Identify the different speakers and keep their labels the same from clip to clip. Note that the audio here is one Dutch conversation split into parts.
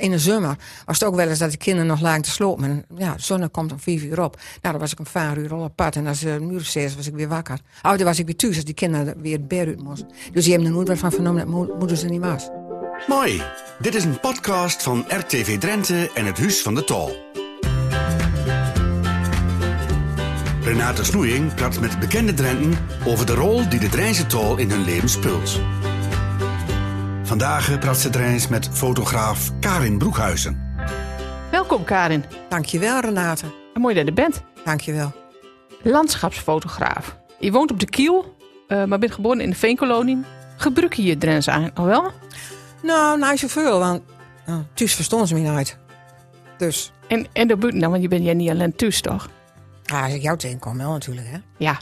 Speaker 1: In de zomer was het ook wel eens dat de kinderen nog lagen te slopen. En ja, de zon komt om vier uur op. Nou, dan was ik een paar uur al apart. En als eh, de muur zes was ik weer wakker. Oh, dan was ik weer thuis als die kinderen weer het bed uit moesten. Dus die hebben er nooit wat van vernomen dat mo- moeder ze niet was.
Speaker 2: Mooi. Dit is een podcast van RTV Drenthe en het Huis van de Tal. Renate Snoeing praat met bekende Drenten over de rol die de Drijnse Tal in hun leven speelt. Vandaag praat ze Drijns met fotograaf Karin Broekhuizen.
Speaker 3: Welkom Karin.
Speaker 1: Dankjewel, Renate.
Speaker 3: En mooi dat je er bent.
Speaker 1: Dankjewel.
Speaker 3: Landschapsfotograaf. Je woont op de Kiel, eh, maar bent geboren in de Veenkolonie. Gebruik je je Drents eigenlijk nog wel?
Speaker 1: Nou, nou, niet zoveel, want nou, thuis verstonden ze me niet uit. Dus,
Speaker 3: En, en de buiten dan, want je bent jij niet alleen thuis toch?
Speaker 1: ah, als ik jou tegenkom wel natuurlijk, hè.
Speaker 3: Ja.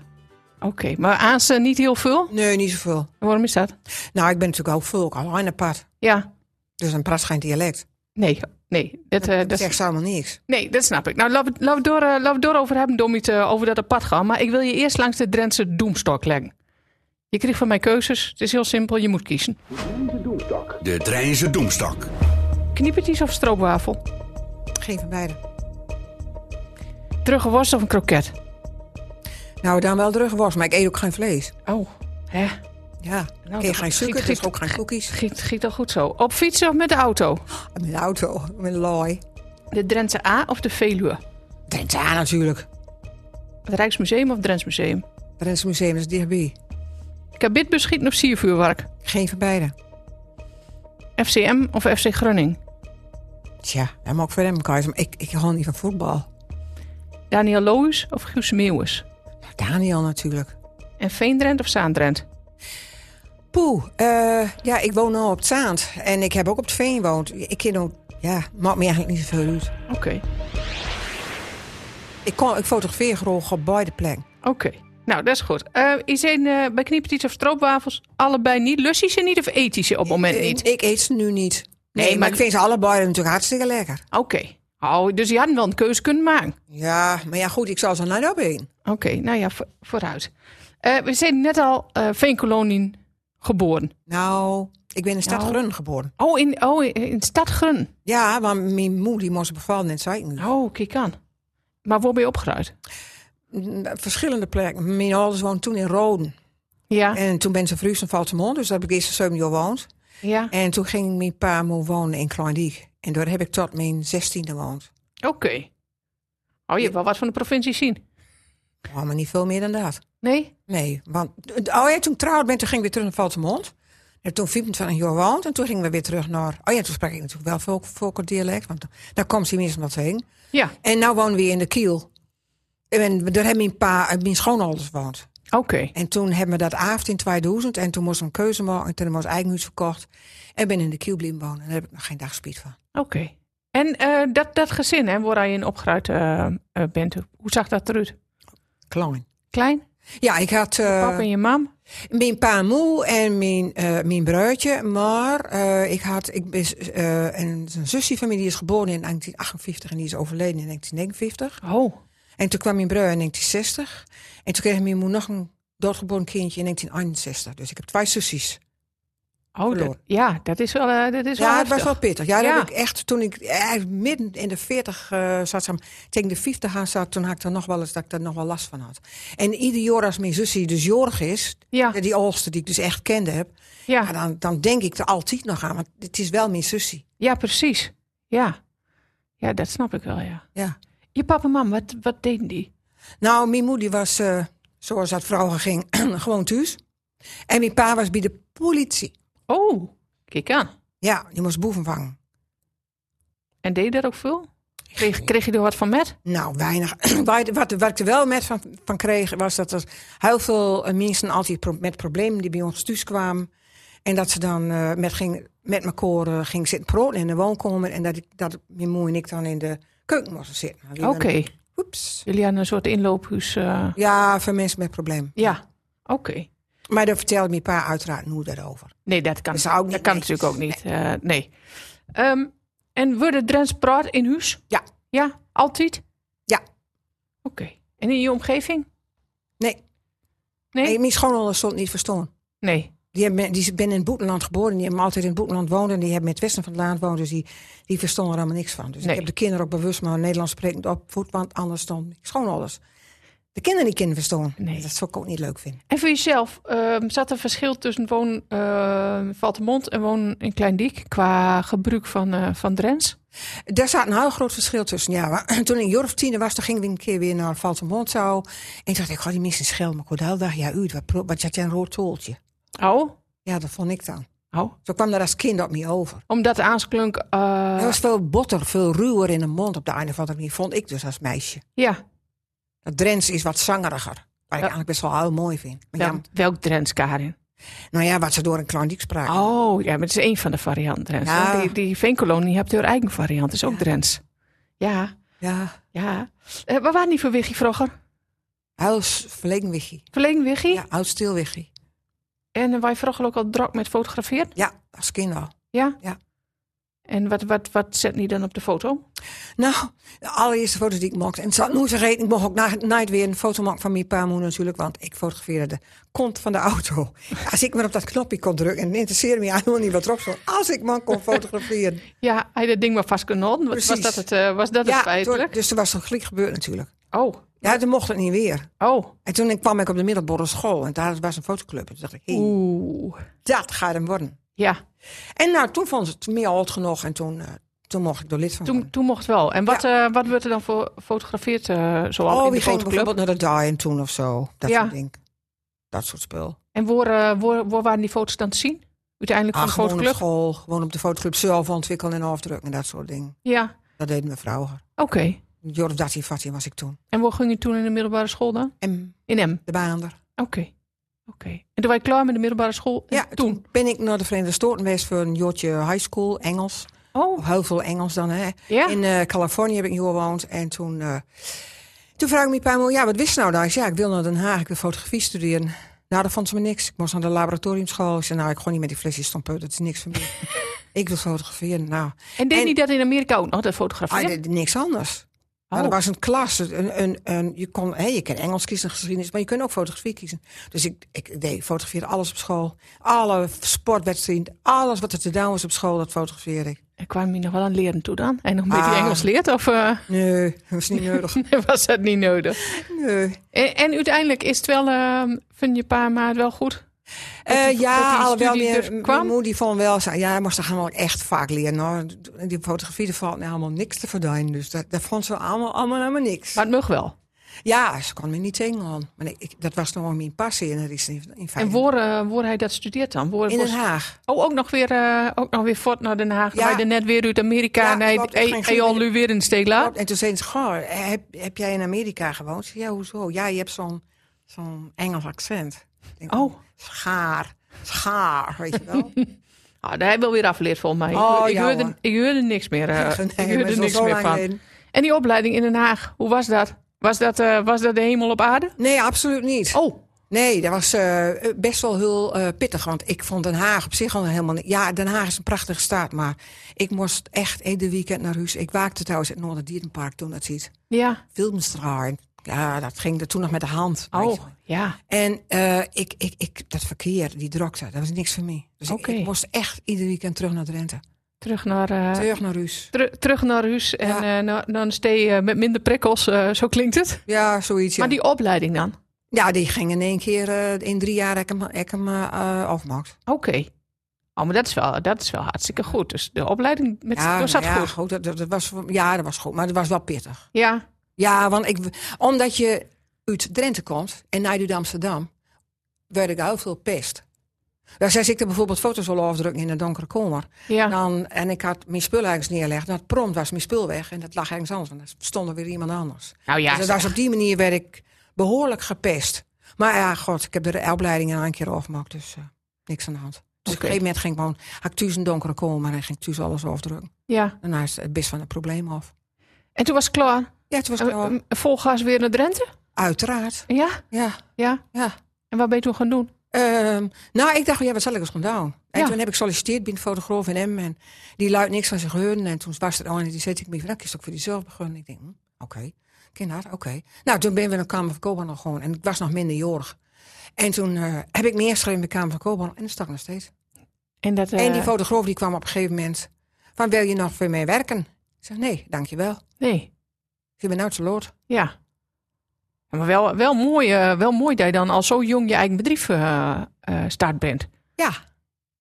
Speaker 3: Oké, maar aan ze niet heel veel?
Speaker 1: Nee, niet zoveel.
Speaker 3: En waarom is dat?
Speaker 1: Nou, ik ben natuurlijk ook veel ook alleen apart.
Speaker 3: Ja,
Speaker 1: Dus een praat geen dialect.
Speaker 3: nee, nee. Dat, eh,
Speaker 1: Dat
Speaker 3: dat,
Speaker 1: zegt ze allemaal niks.
Speaker 3: nee, dat snap ik. Nou, laten we het door, eh, laten we het door over hebben, om iets eh, over dat apart gaan. Maar ik wil je eerst langs de Drentse doemstok leggen. Je kreeg van mij keuzes. Het is heel simpel, je moet kiezen.
Speaker 2: De Drijnse Doemstak.
Speaker 3: Kniepertjes of stroopwafel?
Speaker 1: Geen van beide.
Speaker 3: Teruggeworst of een kroket?
Speaker 1: Nou, dan wel terug was, maar ik eet ook geen vlees.
Speaker 3: Oh, hè?
Speaker 1: Ja,
Speaker 3: Nou,
Speaker 1: ik eet
Speaker 3: dat
Speaker 1: geen
Speaker 3: giet-
Speaker 1: suiker, dus
Speaker 3: giet-
Speaker 1: ook geen koekjes.
Speaker 3: Giet, giet al goed zo. Op fietsen of met de auto?
Speaker 1: Ah, Met de auto, met de looi.
Speaker 3: De Drentse A of de Veluwe?
Speaker 1: Drenthe A natuurlijk.
Speaker 3: Het Rijksmuseum of Drents Museum?
Speaker 1: Drentse Museum is dichtbij.
Speaker 3: Kabitbus schieten of siervuurwerk?
Speaker 1: Geen van beide.
Speaker 3: FCM of FC Groningen?
Speaker 1: Tja, dan mag ik verder hem kiezen, maar ik, ik hou niet van voetbal.
Speaker 3: Daniel Loewis of Guus Meeuwis?
Speaker 1: Daniel natuurlijk.
Speaker 3: En Veendrent of Zaandrent?
Speaker 1: Poeh, eh, ja, ik woon nu op het Zaand. En ik heb ook op het Veen gewoond. Ik ken ook, ja, maakt me eigenlijk niet zoveel uit.
Speaker 3: Oké,
Speaker 1: Ik, kon, ik fotografeer gewoon op beide plekken.
Speaker 3: oké. Nou, dat is goed. Eh is een, eh, bij kniepertjes of stroopwafels allebei niet? Lust je ze niet of eet je ze op het moment
Speaker 1: Eh,
Speaker 3: niet?
Speaker 1: Ik, eet ze nu niet. Nee,
Speaker 3: Nee,
Speaker 1: maar
Speaker 3: maar-
Speaker 1: ik vind ze allebei natuurlijk hartstikke lekker.
Speaker 3: Oké. Oh, dus je had wel een keuze kunnen maken.
Speaker 1: Ja, maar ja goed, ik zal ze naar opeten.
Speaker 3: Oké, nou ja, vo- vooruit. Eh, we zijn net al eh Veenkolonien geboren.
Speaker 1: Nou, ik ben in Stad
Speaker 3: Nou.
Speaker 1: Grun geboren.
Speaker 3: Oh, in, oh, in- in Stad Grun.
Speaker 1: Ja, maar mijn moeder die moest bevallen in Zuid.
Speaker 3: Oh, kijk aan. Maar waar ben je opgeruid?
Speaker 1: Verschillende plekken. Mijn ouders woonden toen in Roden.
Speaker 3: Ja,
Speaker 1: En toen ben ze verhuisd naar Valtemont, dus daar heb ik eerst zeven jaar gewoond.
Speaker 3: ja.
Speaker 1: En toen ging mijn pa moe wonen in Kruindiek. En daar heb ik tot mijn zestiende gewoond.
Speaker 3: Oké. Oh, je hebt wel wat van de provincie zien.
Speaker 1: Oh, maar niet veel meer dan dat.
Speaker 3: Nee?
Speaker 1: Nee, want oh ja, toen ik trouwd ben, toen ging ik weer terug naar Valtemont. En toen 25 jaar gewoond en toen gingen we weer terug naar... Oh ja, toen sprak ik natuurlijk wel volk, volkendialect, want daar kwam ze minstens wat heen.
Speaker 3: Ja,
Speaker 1: En nou wonen we in de Kiel. En daar hebben mijn pa en mijn schoonouders gewoond.
Speaker 3: oké.
Speaker 1: En toen hebben we dat avond in 2000 en toen moest ik een keuze maken en toen was eigen huis verkocht. En ben in de Kiel blijven wonen en daar heb ik nog geen dag spiet van.
Speaker 3: Oké. En eh, dat, dat gezin, hè, waar je in opgeruid eh, eh, bent, hoe zag dat eruit?
Speaker 1: Klein.
Speaker 3: Klein?
Speaker 1: Ja, ik had eh,
Speaker 3: Papa en je mam?
Speaker 1: mijn pa en moe en mijn, eh mijn bruidje, maar eh, ik had ik ben, eh, en een zusje van mij die is geboren in 1958 en die is overleden in 1959.
Speaker 3: Oh,
Speaker 1: En toen kwam mijn broer in 1960 en toen kreeg mijn moeder nog een doodgeboren kindje in 1961. Dus ik heb twee zusjes.
Speaker 3: oh dat,
Speaker 1: Verloren.
Speaker 3: ja, dat is wel, eh, dat is wel
Speaker 1: Ja, het was
Speaker 3: heftig.
Speaker 1: wel pittig. Ja, dat
Speaker 3: Ja.
Speaker 1: heb ik echt toen ik eh, midden in de 40 eh, zat, zeg maar, tegen de 50 aan zat, toen had ik er nog wel eens dat ik daar nog wel last van had. En ieder jaar als mijn zusje dus Jorg is,
Speaker 3: Ja.
Speaker 1: die oudste die ik dus echt kende heb,
Speaker 3: Ja.
Speaker 1: ja, dan, dan denk ik er altijd nog aan, want het is wel mijn zusje.
Speaker 3: ja, precies. Ja. ja, dat snap ik wel, ja.
Speaker 1: Ja.
Speaker 3: Je papa en mam, wat, wat deden die?
Speaker 1: Nou, mijn moeder was, eh, zoals dat vrouwen ging, gewoon thuis. En mijn pa was bij de politie.
Speaker 3: Oh, kijk aan.
Speaker 1: Ja, die moest boeven vangen.
Speaker 3: En deed je dat ook veel? Kreeg, kreeg je er wat van met?
Speaker 1: Nou, weinig. wat, wat, wat ik er wel met van, van kreeg, was dat er heel veel eh, mensen altijd pro- met problemen die bij ons thuis kwamen. En dat ze dan eh, met, ging, met mijn koren ging zitten proten in de woonkamer. En dat, ik, dat mijn moe en ik dan in de keuken moesten zitten. Nou,
Speaker 3: Oké,
Speaker 1: Oeps.
Speaker 3: jullie hadden een soort inloophuis. eh,
Speaker 1: Ja, voor mensen met problemen.
Speaker 3: ja, oké.
Speaker 1: Maar daar vertelde mijn pa uiteraard nu daarover.
Speaker 3: Nee, dat kan,
Speaker 1: Dat
Speaker 3: dat
Speaker 1: zou ook niet
Speaker 3: kan
Speaker 1: netjes.
Speaker 3: natuurlijk ook niet. eh, nee. Ehm, en worden Drents praat in huis?
Speaker 1: Ja.
Speaker 3: Ja, altijd?
Speaker 1: Ja.
Speaker 3: Oké. En in je omgeving?
Speaker 1: Nee,
Speaker 3: Nee?
Speaker 1: nee mijn schoonhonder stond niet verstaan.
Speaker 3: Nee.
Speaker 1: Die, hebben, die zijn in het buitenland geboren. Die hebben altijd in het buitenland gewoond. En die hebben in het westen van het land gewoond. Dus die, die verstonden er allemaal niks van. Dus
Speaker 3: Nee.
Speaker 1: ik heb de kinderen ook bewust maar Nederlands sprekend opvoed. Want anders dan schoon alles. De kinderen die kinderen verstonden.
Speaker 3: Nee.
Speaker 1: Dat zou ik ook niet leuk vinden.
Speaker 3: En voor jezelf, ehm, zat er verschil tussen woon eh Valtemont en woon in Kleindiek qua gebruik van, eh, van Drents?
Speaker 1: Daar zat een heel groot verschil tussen. Ja, wa- toen ik een jaar of tiener was, toen ging ik een keer weer naar Valtenbondsau. En toen dacht ik, ga die mensen schelmen. Ik hoorde de hele dag, ja, u, wat, pro- wat had jij een rood toeltje?
Speaker 3: Oh,
Speaker 1: Ja, dat vond ik dan.
Speaker 3: oh.
Speaker 1: Zo kwam dat als kind op me over.
Speaker 3: Omdat aansklunk. eh,
Speaker 1: Er was veel botter, veel ruwer in de mond op de een of andere manier, vond ik dus als meisje.
Speaker 3: ja,
Speaker 1: Dat Drents is wat zangeriger, wat ik eigenlijk best wel heel mooi vind. Maar ja,
Speaker 3: welk, welk Drents, Karin?
Speaker 1: nou ja, wat ze door een klandiek spraken.
Speaker 3: Oh, ja, maar het is één van de varianten Drents.
Speaker 1: Ja.
Speaker 3: hè? Die, die veenkolonie hebt haar eigen variant, is ook Drents. Ja,
Speaker 1: Ja,
Speaker 3: ja. Eh, waar waren die voor Wiggy vroeger?
Speaker 1: huis verlegenwichie.
Speaker 3: Verlegen Wiggy?
Speaker 1: Ja, oud stilwichie.
Speaker 3: En eh, wij vroeger ook al druk met fotografeerd?
Speaker 1: Ja, als kind al.
Speaker 3: Ja?
Speaker 1: Ja.
Speaker 3: En wat, wat, wat zet die dan op de foto?
Speaker 1: Nou, de allereerste foto's die ik maakte. En het zal nooit vergeten, ik mocht ook na- nooit weer een foto maken van mijn pa en moeder natuurlijk. Want ik fotografeerde de kont van de auto. Als ik maar op dat knopje kon drukken en het interesseerde me helemaal niet wat erop stond. Als ik man kon fotograferen.
Speaker 3: Ja, hij dat ding maar vast kunnen houden. Was, was
Speaker 1: Precies.
Speaker 3: dat het, eh, was dat het
Speaker 1: toen-
Speaker 3: feitelijk?
Speaker 1: dus er was een gelijk gebeurd natuurlijk.
Speaker 3: Oh,
Speaker 1: Ja, toen mocht het niet weer.
Speaker 3: oh.
Speaker 1: En toen kwam ik op de middelbare school en daar was een fotoclub. En toen dacht ik, hé,
Speaker 3: Oeh.
Speaker 1: dat gaat hem worden.
Speaker 3: Ja,
Speaker 1: En nou, toen vond ze het meer oud genoeg en toen, eh, toen mocht ik er lid van worden.
Speaker 3: toen, toen mocht het wel. En wat, eh, wat wordt er dan voor gefotografeerd eh zoal
Speaker 1: Oh,
Speaker 3: in de
Speaker 1: wie ging
Speaker 3: fotoclub?
Speaker 1: bijvoorbeeld naar de Dian toen of zo. Dat
Speaker 3: Ja.
Speaker 1: soort ding. Dat soort spul.
Speaker 3: En waar, eh, waar, waar waren die foto's dan te zien? Uiteindelijk
Speaker 1: Ah,
Speaker 3: van de
Speaker 1: gewoon op
Speaker 3: fotoclub?
Speaker 1: school, gewoon op de fotoclub zelf ontwikkelen en afdrukken en dat soort dingen.
Speaker 3: Ja,
Speaker 1: Dat deden mijn vrouwen.
Speaker 3: oké.
Speaker 1: Een jaar of 13, 14 was ik toen.
Speaker 3: En waar ging je toen in de middelbare school dan?
Speaker 1: En
Speaker 3: In M.
Speaker 1: de baander.
Speaker 3: Oké. Oké. En toen was je klaar met de middelbare school? En
Speaker 1: Ja, toen ben ik naar de Verenigde Staten geweest voor een jaartje high school, Engels.
Speaker 3: Oh,
Speaker 1: Of heel veel Engels dan, hè.
Speaker 3: ja.
Speaker 1: In eh, Californië heb ik hier gewoond. En toen, eh toen vraag ik me een paar ja, wat wist ze nou dan? Ik zei, ja, ik wil naar Den Haag, ik wil fotografie studeren. Nou, dat vond ze me niks. Ik moest naar de laboratoriumschool. Ik zei, nou, ik gooi niet met die flesjes stampeut, dat is niks voor mij. ik wil fotograferen. Nou,
Speaker 3: en deed
Speaker 1: en-
Speaker 3: hij dat in Amerika ook nog, dat
Speaker 1: Ah,
Speaker 3: fotograferen?
Speaker 1: d- d- niks anders. Maar
Speaker 3: Oh.
Speaker 1: er was een klas. Een, een, een, je, kon, hè, je kan Engels kiezen, geschiedenis, maar je kunt ook fotografie kiezen. Dus ik, ik deed, fotografeerde alles op school. Alle sportwedstrijden, alles wat er te doen was op school, dat fotografeerde ik.
Speaker 3: En kwam je nog wel aan leren toe dan? En nog een beetje
Speaker 1: Ah.
Speaker 3: Engels leert? Of eh,
Speaker 1: Nee, dat was niet nodig.
Speaker 3: was dat niet nodig?
Speaker 1: Nee.
Speaker 3: En, en uiteindelijk is het wel, eh vind je pa en ma het wel goed? Dat die-
Speaker 1: Eh,
Speaker 3: dat die
Speaker 1: ja, alhoewel
Speaker 3: studie
Speaker 1: meer,
Speaker 3: dus
Speaker 1: m-
Speaker 3: kwam?
Speaker 1: mijn moeder die vond wel, zo- ja, hij moest er gewoon echt vaak leren. hoor. Die fotografie, daar valt nou helemaal niks te verdienen. Dus dat, dat vond ze allemaal, allemaal helemaal niks.
Speaker 3: Maar het mag wel.
Speaker 1: ja, ze kon me niet tegenhouden. Maar ik, ik- dat was nog wel mijn passie en dat is in, in
Speaker 3: En
Speaker 1: feite-
Speaker 3: waar, eh, waar hij dat studeert dan? Waar,
Speaker 1: in
Speaker 3: waar-
Speaker 1: Den Haag.
Speaker 3: Oh, ook nog weer, eh, ook nog weer fort naar Den Haag.
Speaker 1: Ja.
Speaker 3: Waar je net weer uit Amerika.
Speaker 1: Ja,
Speaker 3: en hij
Speaker 1: klopt, ik ging
Speaker 3: hij
Speaker 1: goed
Speaker 3: al
Speaker 1: met-
Speaker 3: nu weer in Steegla.
Speaker 1: Klopt. En toen zei ze, goh, heb, heb jij in Amerika gewoond? Ik zei, Ja, hoezo? Ja, je hebt zo'n zo'n Engels accent. Ik Denk,
Speaker 3: Oh.
Speaker 1: Schaar, schaar, weet je wel.
Speaker 3: Ah, daar heb wel weer afgeleerd volgens mij. Ik-
Speaker 1: Oh,
Speaker 3: ik,
Speaker 1: ja,
Speaker 3: hoorde,
Speaker 1: hoor.
Speaker 3: ik hoorde niks meer, eh, ik
Speaker 1: maar
Speaker 3: hoorde
Speaker 1: zo-
Speaker 3: niks
Speaker 1: zo
Speaker 3: meer
Speaker 1: lang
Speaker 3: van.
Speaker 1: geleden.
Speaker 3: En die opleiding in Den Haag, hoe was dat? Was dat, eh, was dat de hemel op aarde?
Speaker 1: Nee, absoluut niet.
Speaker 3: Oh,
Speaker 1: Nee, dat was eh, eh, best wel heel eh, pittig. Want ik vond Den Haag op zich al helemaal niet... Ja, Den Haag is een prachtige staat, maar ik moest echt ieder weekend naar huis. Ik waakte trouwens in het Noorderdierenpark toen dat ziet.
Speaker 3: ja.
Speaker 1: Filmstraal. Ja, dat ging er toen nog met de hand. weet je
Speaker 3: Oh,
Speaker 1: wel.
Speaker 3: ja.
Speaker 1: En eh, ik, ik, ik, dat verkeer, die drokte, dat was niks voor mij. Dus ik-
Speaker 3: Oké.
Speaker 1: ik, moest echt ieder weekend terug naar Drenthe.
Speaker 3: Terug naar, eh,
Speaker 1: terug naar Ruus.
Speaker 3: teru- terug naar huis en
Speaker 1: Ja.
Speaker 3: eh, na- naar een stee eh, met minder prikkels, eh, zo klinkt het.
Speaker 1: Ja, zoiets. Ja,
Speaker 3: Maar die opleiding dan?
Speaker 1: ja, die ging in één keer, eh, in drie jaar heb ik hem, heb ik hem eh, eh, afgemaakt.
Speaker 3: Oké. Oh, maar dat is, wel, dat is wel hartstikke goed. Dus de opleiding met,
Speaker 1: Ja,
Speaker 3: dat zat
Speaker 1: nou ja,
Speaker 3: goed.
Speaker 1: dat, dat, dat was, ja, dat was goed, maar dat was wel pittig.
Speaker 3: Ja,
Speaker 1: Ja, want ik, omdat je uit Drenthe komt en naar uit Amsterdam, werd ik heel veel pest. Ja, als ik er bijvoorbeeld foto's wil afdrukken in een donkere kamer.
Speaker 3: ja.
Speaker 1: Dan, en ik had mijn spul ergens neerlegd. Dat prompt was mijn spul weg en dat lag ergens anders. En dan stond er weer iemand anders.
Speaker 3: nou ja,
Speaker 1: dus dat was op die manier werd ik behoorlijk gepest. Maar ja, god, ik heb de opleiding in één keer afgemaakt, dus eh, niks aan de hand. Dus op een
Speaker 3: Oké.
Speaker 1: gegeven moment ging ik gewoon, had ik thuis een donkere kamer en ging ik thuis alles afdrukken.
Speaker 3: ja.
Speaker 1: Daarna is het best van het probleem af.
Speaker 3: En toen was het klaar.
Speaker 1: Ja, het was
Speaker 3: Eh,
Speaker 1: gewoon,
Speaker 3: eh, Vol gas weer naar Drenthe?
Speaker 1: uiteraard.
Speaker 3: Ja,
Speaker 1: Ja,
Speaker 3: ja.
Speaker 1: ja.
Speaker 3: En wat ben je toen gaan doen?
Speaker 1: Ehm, nou, ik dacht, ja, wat zal ik eens gaan doen? En
Speaker 3: Ja.
Speaker 1: toen heb ik gesolliciteerd bij een fotograaf in hem. En die luidt niks van zijn geuren. En toen was er al en die zei ik me, van, nou, ik is ook voor diezelfde begonnen. Ik denk, hm, oké, okay. oké. Nou, toen ben we naar Kamer van Koophandel gewoon. En ik was nog minderjarig. En toen eh, heb ik me ingeschreven bij de Kamer van Koophandel en dat stak nog steeds.
Speaker 3: En, dat, eh,
Speaker 1: En die fotograaf die kwam op een gegeven moment van wil je nog voor mij werken? Ik zeg nee, dankjewel.
Speaker 3: Nee,
Speaker 1: Je bent nou te lood.
Speaker 3: ja. Ja, Maar wel, wel, mooi, eh, wel mooi dat je dan al zo jong je eigen bedrijf eh, eh, start bent.
Speaker 1: Ja,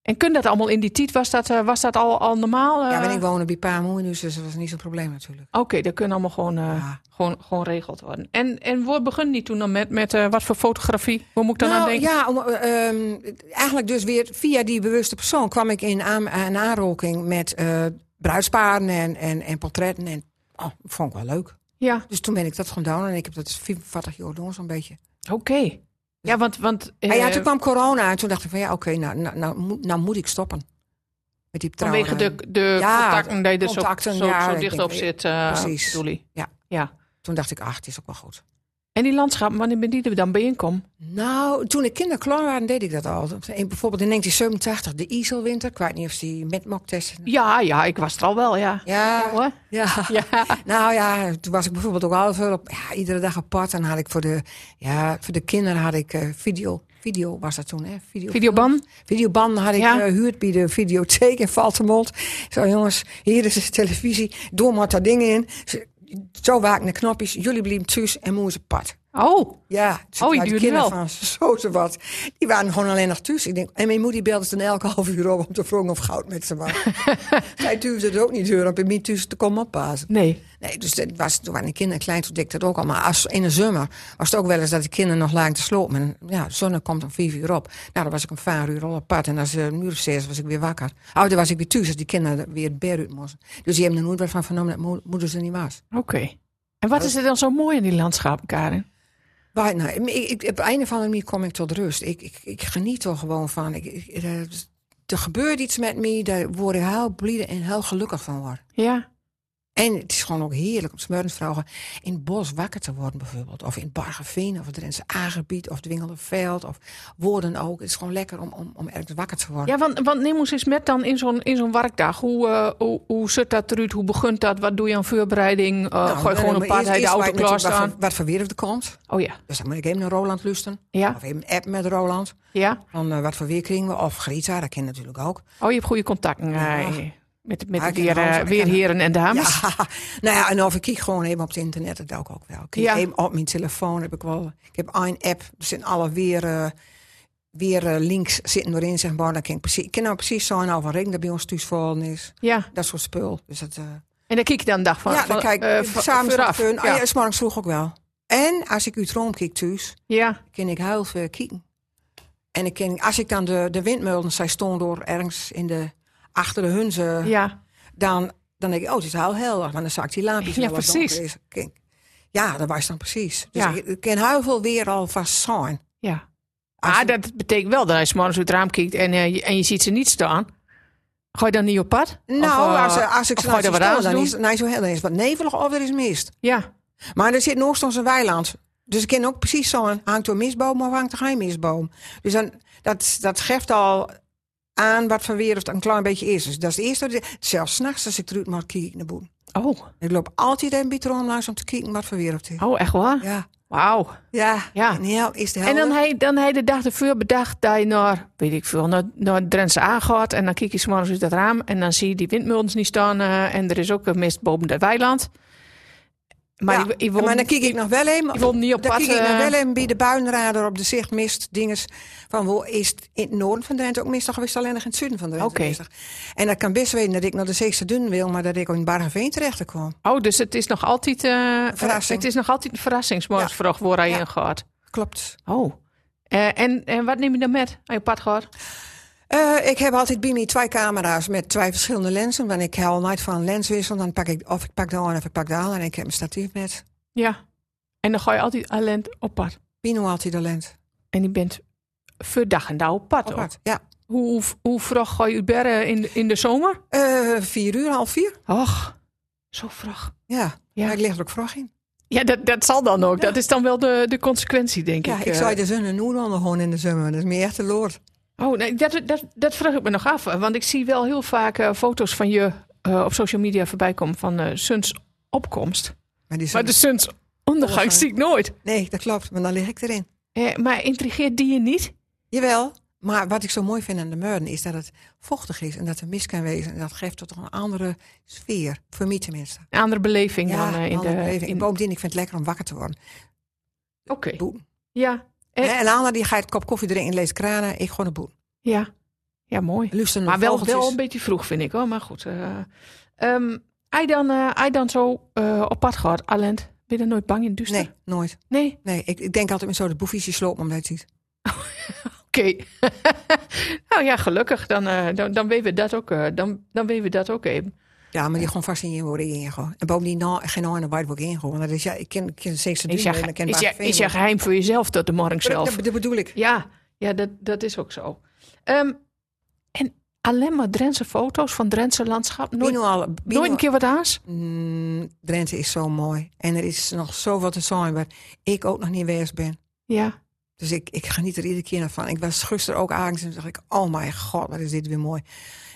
Speaker 3: En kun dat allemaal in die tijd? Was dat, eh, was dat al, al normaal? eh?
Speaker 1: ja maar ik woonde bij Pa en Moe, dus dat was niet zo'n probleem natuurlijk. Ah.
Speaker 3: Oké, dat kunnen allemaal gewoon, eh,
Speaker 1: Ja.
Speaker 3: gewoon, gewoon regeld worden. En, en waar begon die toen dan met, met eh, wat voor fotografie? Waar moet ik dan aan
Speaker 1: Nou,
Speaker 3: denken?
Speaker 1: ja, om, eh, ehm, eigenlijk dus weer via die bewuste persoon kwam ik in aan, aan aanraking met eh, bruidsparen en, en, en portretten. En, oh, vond ik wel leuk.
Speaker 3: Ja,
Speaker 1: Dus toen ben ik dat gaan doen en ik heb dat 44 jaar doen zo'n beetje.
Speaker 3: oké. Ja, want... want eh,
Speaker 1: Ah ja, toen kwam corona en toen dacht ik van ja, oké, nou, nou, nou, moet- nou moet ik stoppen. Met die trouwen.
Speaker 3: vanwege de, de
Speaker 1: Ja,
Speaker 3: contacten die er zo,
Speaker 1: contacten,
Speaker 3: zo,
Speaker 1: ja,
Speaker 3: zo
Speaker 1: ik
Speaker 3: dicht
Speaker 1: denk,
Speaker 3: op zit. eh,
Speaker 1: precies.
Speaker 3: bedoel je?
Speaker 1: Ja.
Speaker 3: ja.
Speaker 1: Toen dacht ik, ach, het is ook wel goed.
Speaker 3: En die landschappen, wanneer ben die er dan bij inkom?
Speaker 1: Nou, toen ik kinderklaar waren, deed ik dat al. In, bijvoorbeeld in 1987, de ISO-winter. Ik weet niet of ze die met moktesten...
Speaker 3: Ja, ja, ik was er al wel, ja.
Speaker 1: Ja,
Speaker 3: hoor.
Speaker 1: ja.
Speaker 3: Ja.
Speaker 1: Nou ja, toen was ik bijvoorbeeld ook half uur op ja, iedere dag apart. En had ik voor de, ja, voor de kinderen had ik eh, video. Video was dat toen, hè? Video,
Speaker 3: Videoban?
Speaker 1: Videoband had ik
Speaker 3: Ja.
Speaker 1: eh, huurd bij de videotheek in Valtemont. Zo, jongens, hier is de televisie. Door maar dat dingen in. Zo, zo waak de knopjes. Jullie bleven thuis en moesten apart.
Speaker 3: Oh,
Speaker 1: Ja,
Speaker 3: Oh, die
Speaker 1: nou, die
Speaker 3: duurde
Speaker 1: kinderen
Speaker 3: wel.
Speaker 1: van zo te wat. Die waren gewoon alleen nog thuis. Ik denk, en mijn moeder belde ze dan elke half uur op om te vragen of goud met ze was. Zij duurde het ook niet deur om bij mij thuis te komen oppassen.
Speaker 3: nee.
Speaker 1: Nee, dus dat was, toen waren de kinderen klein, toen deed ik dat ook al. Maar als, in de zomer was het ook wel eens dat de kinderen nog lagen te slopen. En ja, de zon komt om vier uur op. Nou, dan was ik om vijf uur al apart. En als het een uur of zes was ik weer wakker. Oh, dan was ik weer thuis als die kinderen weer het bed uit moesten. Dus die hebben er nooit wat van vernomen dat mo- moeder ze niet was.
Speaker 3: Oké. En
Speaker 1: Oh.
Speaker 3: wat is er dan zo mooi in die landschappen, Karin?
Speaker 1: Maar nou, ik, ik, op een of andere manier kom ik tot rust. Ik, ik, ik geniet er gewoon van. Ik, ik- eh, er gebeurt iets met me, daar word ik heel blij en heel gelukkig van word.
Speaker 3: Ja.
Speaker 1: En het is gewoon ook heerlijk om 's morgens vrouwen in het bos wakker te worden bijvoorbeeld. Of in Bargeveen, of het Drentse Aangebied, of Dwingelenveld, of woorden ook. Het is gewoon lekker om, om, om ergens wakker te worden.
Speaker 3: Ja, want, want neem ons eens met dan in zo'n, in zo'n werkdag. Hoe, eh, hoe, hoe zit dat eruit? Hoe begint dat? Wat doe je aan voorbereiding? Eh
Speaker 1: Nou,
Speaker 3: ga je gewoon
Speaker 1: dan
Speaker 3: een paar
Speaker 1: eerst-
Speaker 3: de
Speaker 1: eerst
Speaker 3: auto
Speaker 1: weet ik natuurlijk wat
Speaker 3: klaarstaan?
Speaker 1: voor- Wat voor weer er komt.
Speaker 3: Oh ja.
Speaker 1: Dus dan moet ik even naar Roland luisteren.
Speaker 3: Ja.
Speaker 1: Of even app met Roland.
Speaker 3: Ja.
Speaker 1: Dan eh, wat voor weer kringen we. Of Greta, dat ken je natuurlijk ook.
Speaker 3: Oh, je hebt goede contacten. eh,
Speaker 1: Ja.
Speaker 3: Met, met
Speaker 1: Ja,
Speaker 3: de
Speaker 1: ik ken
Speaker 3: weer,
Speaker 1: alles.
Speaker 3: eh,
Speaker 1: Ik
Speaker 3: weerheren en dames.
Speaker 1: Ja, nou ja, en of ik kijk gewoon even op het internet, dat doe ik ook wel. Ik kijk
Speaker 3: Ja.
Speaker 1: even op mijn telefoon heb ik wel. Ik heb een app, er zitten alle weer, eh, weer eh, links zitten erin, zeg maar. Dan kan ik precies, ik ken nou precies zo'n al van ring dat bij ons thuis vallen is.
Speaker 3: ja.
Speaker 1: Dat soort spul. Dus dat, eh,
Speaker 3: En dan kijk je dan een dag van.
Speaker 1: ja, dan
Speaker 3: van,
Speaker 1: kijk
Speaker 3: eh,
Speaker 1: ik
Speaker 3: van-
Speaker 1: samen
Speaker 3: vooraf.
Speaker 1: fun.
Speaker 3: Ja.
Speaker 1: Ah, Ja. ja, 's morgens vroeg ook wel. En als ik uit Rome kijk thuis,
Speaker 3: ja.
Speaker 1: kan ik heel veel kijken. En ik ken, als ik dan de, de windmeulen, zij stonden door ergens in de, achter de hunze
Speaker 3: Ja.
Speaker 1: dan, dan denk ik, oh, het is heel helder. Maar dan zag ik die laampjes
Speaker 3: Ja,
Speaker 1: wel wat
Speaker 3: precies.
Speaker 1: donker is. Kijk, Ja, dat was dan precies. Dus
Speaker 3: Ja.
Speaker 1: ik, ik ken heel veel weer al vast zijn.
Speaker 3: ja.
Speaker 1: Als
Speaker 3: Maar
Speaker 1: je-
Speaker 3: dat betekent wel dat als je morgens uit het raam kijkt en, eh, je- en je ziet ze niet staan. Ga je dan niet op pad?
Speaker 1: Nou,
Speaker 3: Of, eh,
Speaker 1: als, als ik
Speaker 3: of
Speaker 1: ze
Speaker 3: ga
Speaker 1: nou
Speaker 3: je er
Speaker 1: zo
Speaker 3: wat
Speaker 1: staan,
Speaker 3: aan
Speaker 1: dan
Speaker 3: doen?
Speaker 1: is, nee, zo heel, dan is het wat nevelig of er is mist.
Speaker 3: Ja.
Speaker 1: Maar er zit nog soms een weiland. Dus ik ken ook precies zo'n, hangt er een misboom of hangt er geen misboom. Dus dan, dat, dat geeft al aan wat voor weer het een klein beetje is. Dus dat is het eerste. Zelfs s'nachts als ik eruit mag kijken naar boven.
Speaker 3: Oh.
Speaker 1: Ik loop altijd een beetje rond langs om te kijken wat voor weer het is.
Speaker 3: oh, echt waar?
Speaker 1: Ja,
Speaker 3: Wauw.
Speaker 1: ja.
Speaker 3: Ja.
Speaker 1: En heel- is het
Speaker 3: En dan
Speaker 1: helder?
Speaker 3: hij, dan hij de dag ervoor bedacht dat je naar, weet ik veel, naar, naar het Drentse A gaat. En dan kijk je 's morgens uit het raam en dan zie je die windmolens niet staan. eh, en er is ook een mist boven het weiland. Maar,
Speaker 1: Ja,
Speaker 3: ik, ik wil-
Speaker 1: maar dan kijk ik nog wel even.
Speaker 3: wil niet op
Speaker 1: dan
Speaker 3: pad,
Speaker 1: kijk ik nog
Speaker 3: eh.
Speaker 1: wel even bij de buienradar op de zicht mist dinges. Van wo is het in het noorden van Drenthe ook mistig of is het alleen nog in het zuiden van Drenthe
Speaker 3: Oké.
Speaker 1: mistig? En dat kan best weten dat ik naar de Zeekse Dun wil, maar dat ik ook in Bargeveen terecht kwam.
Speaker 3: Oh, dus het is nog altijd, eh,
Speaker 1: verrassing.
Speaker 3: Het is nog altijd een verrassing, 's morgens vroeg waar hij
Speaker 1: Ja.
Speaker 3: in gaat.
Speaker 1: Klopt.
Speaker 3: Oh. Eh, en, en wat neem je dan met aan je pad gaat?
Speaker 1: Eh, ik heb altijd bij me twee camera's met twee verschillende lenzen. Want ik hou nooit van lenswissel. Dan pak ik of ik pak de een of ik pak de ander. En ik heb een statief met.
Speaker 3: Ja. En dan ga je altijd alleen op pad.
Speaker 1: Pino altijd de lens.
Speaker 3: En je bent verdag en daar op pad. ook.
Speaker 1: Apart. Ja.
Speaker 3: Hoe, hoe vroeg ga je uit bed, eh, in, de- in de zomer?
Speaker 1: Eh, vier uur, half vier.
Speaker 3: Och, zo vroeg.
Speaker 1: Ja.
Speaker 3: Ja.
Speaker 1: Maar ik lig er ook vroeg in.
Speaker 3: Ja, dat, dat zal dan ook. Dat is dan wel de, de consequentie, denk
Speaker 1: Ja,
Speaker 3: ik.
Speaker 1: ik,
Speaker 3: eh.
Speaker 1: zou de zon en Noerlander gewoon in de zomer. Dat is meer echt de loord.
Speaker 3: Oh, nee, dat, dat, dat vraag ik me nog af. Want ik zie wel heel vaak eh, foto's van je eh, op social media voorbij komen van eh Suns opkomst.
Speaker 1: Maar die
Speaker 3: Maar dus-
Speaker 1: zon-
Speaker 3: de Suns ondergang zie ik nooit.
Speaker 1: Nee, dat klopt, maar dan lig ik erin.
Speaker 3: Eh, maar intrigeert die je niet?
Speaker 1: Jawel, maar wat ik zo mooi vind aan de Meurden is dat het vochtig is en dat er mist kan wezen. En dat geeft toch een andere sfeer, voor mij tenminste.
Speaker 3: Een andere beleving dan eh,
Speaker 1: Ja,
Speaker 3: in
Speaker 1: in
Speaker 3: de...
Speaker 1: in...
Speaker 3: in-
Speaker 1: bovendien, ik vind het lekker om wakker te worden.
Speaker 3: Oké,
Speaker 1: Boen.
Speaker 3: ja. Eh.
Speaker 1: Hè, En Anna die gaat een kop koffie drinken, leest kranen. Ik gewoon een boel.
Speaker 3: ja. Ja, mooi.
Speaker 1: Luister naar
Speaker 3: Maar wel,
Speaker 1: vogeltjes.
Speaker 3: wel een beetje vroeg, vind ik hoor. Maar goed. eh ehm, hij dan, eh, hij dan zo eh, op pad gaat, Alent. Ben je er nooit bang in het duister?
Speaker 1: Nee, nooit.
Speaker 3: Nee?
Speaker 1: Nee, ik, ik denk altijd met zo de boefiesje slopen omdat je het ziet.
Speaker 3: Oké. nou ja, gelukkig. Dan, eh, dan, dan weten we dat ook. eh, dan, dan weten we dat ook even.
Speaker 1: Ja, maar die gewoon vast in je worden in gewoon. En bovendien nou, geen aan de white book in gewoon. Dat is ja, ik ken, ik ken steeds de
Speaker 3: Is
Speaker 1: duur en
Speaker 3: je,
Speaker 1: ik ken
Speaker 3: is, je,
Speaker 1: Bart
Speaker 3: is je
Speaker 1: Veeuwen.
Speaker 3: geheim voor jezelf tot de morgen zelf?
Speaker 1: Dat, dat bedoel ik.
Speaker 3: Ja, ja dat, dat is ook zo. Ehm, en alleen maar Drentse foto's van Drentse landschap. Nooit,
Speaker 1: Bino al, Bino-
Speaker 3: nooit een keer wat aans?
Speaker 1: Mm, Drenthe is zo mooi. En er is nog zoveel te zijn waar ik ook nog niet geweest ben.
Speaker 3: Ja.
Speaker 1: Dus ik, ik geniet er iedere keer nog van. Ik was gisteren ook aardig en dacht ik, oh mijn god, wat is dit weer mooi.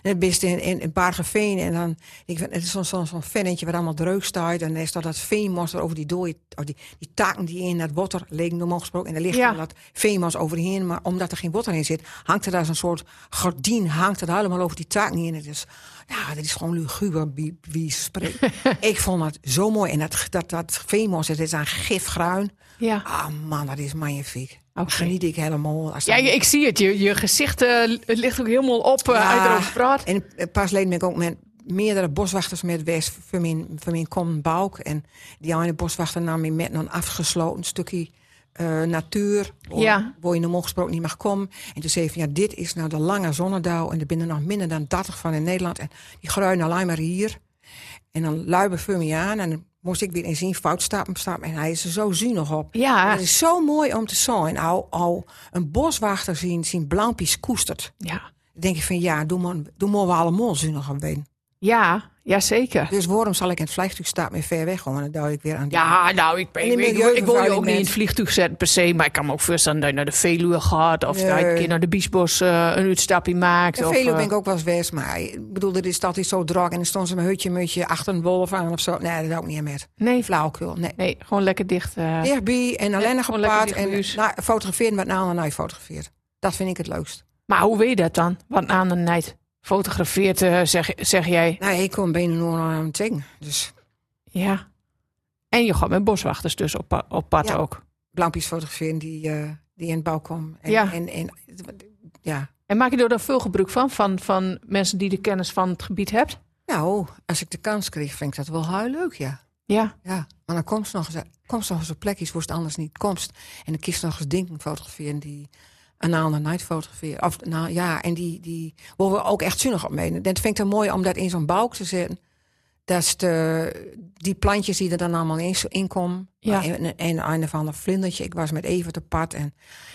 Speaker 1: En het best in, in, in Bargeveen en dan, ik, vind- het is zo'n zo'n zo'n vennetje waar allemaal dreug staat. En dan is dat dat veenmos er over die dode, of die, die takken die in dat water leken normaal gesproken. En er ligt
Speaker 3: Ja.
Speaker 1: dan dat veenmos overheen, maar omdat er geen water in zit, hangt er daar zo'n soort gordijn, hangt er helemaal over die takken in. Het is, nou, dat is gewoon luguber, wie, wie spreekt. ik vond het zo mooi. En dat, dat, dat veenmos, het is aan gifgruin.
Speaker 3: Ja.
Speaker 1: Ah man, dat is magnifiek.
Speaker 3: Oké.
Speaker 1: Geniet ik helemaal. Als
Speaker 3: Ja,
Speaker 1: dat-
Speaker 3: ik zie het. Je, je gezicht eh, het ligt ook helemaal op eh, uit erover praat.
Speaker 1: En eh, pas geleden ben ik ook met meerdere boswachters met West voor mijn, voor mijn kom Balk. En die ene boswachter nam me met naar een afgesloten stukje eh, natuur. Waar,
Speaker 3: Ja.
Speaker 1: waar je normaal gesproken niet mag komen. En toen zei hij, ja, dit is nou de lange zonnedauw. En er zijn er nog minder dan 30 van in Nederland. En die groeien alleen maar hier. En dan luipen voor me aan. En dan moest ik weer in zien fout stappen, stappen. En hij is er zo zuinig op.
Speaker 3: Ja.
Speaker 1: Het is zo mooi om te zien. Al, al een boswachter zien, zien blauwpies koestert.
Speaker 3: Ja,
Speaker 1: Dan denk ik van ja, doe maar, doe maar we allemaal zuinig aan ween.
Speaker 3: ja, ja zeker.
Speaker 1: Dus waarom zal ik in het vliegtuig staan met ver weg? Want dan duw ik weer aan die...
Speaker 3: Ja, nou, ik, ben,
Speaker 1: En de
Speaker 3: ik, ik, ik wil je
Speaker 1: milieuvervuiling
Speaker 3: ook niet in
Speaker 1: bent.
Speaker 3: het vliegtuig zetten per se. Maar ik kan me ook voorstellen dat je naar de Veluwe gaat. Of dat je een
Speaker 1: Nee.
Speaker 3: keer naar de Biesbos eh, een uitstapje maakt.
Speaker 1: In
Speaker 3: of,
Speaker 1: Veluwe
Speaker 3: eh,
Speaker 1: ben ik ook wel eens geweest, maar ik bedoel, de stad is zo druk. En dan stond ze mijn hutje, mutje achter een wolf aan of zo. Nee, dat doe ik niet aan met.
Speaker 3: Nee,
Speaker 1: Flauwekul, nee.
Speaker 3: nee, gewoon lekker dicht. eh,
Speaker 1: Dichtbij en alleen nog
Speaker 3: gewoon
Speaker 1: een
Speaker 3: lekker
Speaker 1: paard.
Speaker 3: dicht
Speaker 1: En
Speaker 3: bij huis.
Speaker 1: nou, fotograferen wat nou en nou fotografeert. Dat vind ik het leukst.
Speaker 3: Maar hoe weet je dat dan? Want aan de nijd fotografeert, eh, zeg, zeg jij.
Speaker 1: Nou, ik kom bijna nog aan het zingen. Dus
Speaker 3: Ja. En je gaat met boswachters dus op, pa- op pad
Speaker 1: Ja.
Speaker 3: ook.
Speaker 1: blampjes fotograferen die, eh, die in het bouw komen. En,
Speaker 3: Ja.
Speaker 1: En, en, ja.
Speaker 3: En maak je er dan veel gebruik van? Van, van mensen die de kennis van het gebied hebt?
Speaker 1: Nou, als ik de kans kreeg, vind ik dat wel heel leuk, ja.
Speaker 3: Ja.
Speaker 1: Ja, maar dan komt ze nog eens, komt ze nog eens op plekjes waar het anders niet komt. En dan kiest ze nog eens dingen fotograferen die een aan night fotograferen. Of, nou, ja, en die, die waar we ook echt zinnig op meenemen. Dat vind ik dan mooi om dat in zo'n balk te zetten. Dat is de, die plantjes die er dan allemaal in, in komen.
Speaker 3: Ja.
Speaker 1: En, en een of ander vlindertje. Ik was met Evert te pad en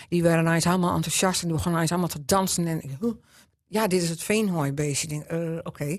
Speaker 1: die waren ineens helemaal enthousiast. En die begonnen ineens allemaal te dansen. En ik, huh, ja, dit is het veenhooibeestje. Ik denk, eh, oké.